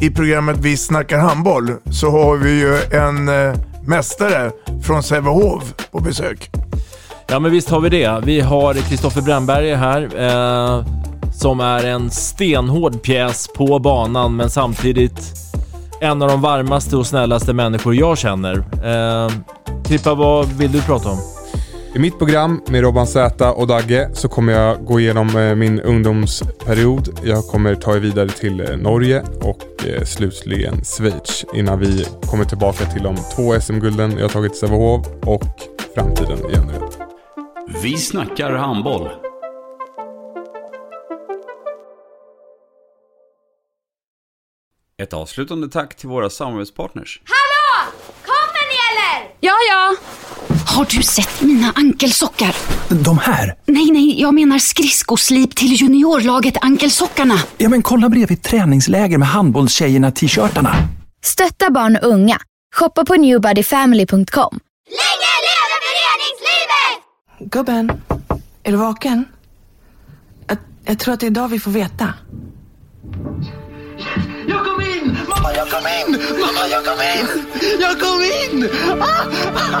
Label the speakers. Speaker 1: i programmet Vi snackar handboll så har vi ju en eh, mästare från Sävehof på besök.
Speaker 2: Ja men visst har vi det. Vi har Kristoffer Brandberger här eh, som är en stenhård pjäs på banan men samtidigt en av de varmaste och snällaste människor jag känner. Eh, Tippa, vad vill du prata om?
Speaker 3: I mitt program med Robban Z och Dagge så kommer jag gå igenom eh, min ungdomsperiod. Jag kommer ta er vidare till eh, Norge och eh, slutligen Schweiz innan vi kommer tillbaka till de två SM-gulden jag tagit i Sävehof och framtiden i Önnered.
Speaker 4: Vi snackar handboll. Ett avslutande tack till våra samarbetspartners.
Speaker 5: Hallå! Kommer ni eller?
Speaker 6: Ja, ja. Har du sett mina ankelsockar?
Speaker 7: De här?
Speaker 6: Nej, nej, jag menar skridskoslip till juniorlaget Ankelsockarna.
Speaker 7: Ja, men kolla bredvid träningsläger med handbollstjejerna-t-shirtarna.
Speaker 8: Stötta barn och unga. Shoppa på newbodyfamily.com.
Speaker 5: Länge leve föreningslivet!
Speaker 9: Gubben, är du vaken? Jag, jag tror att det är idag vi får veta.
Speaker 10: Jag kom in! Mamma, jag kom in! Mamma, jag kom in! Jag kom in! Ah!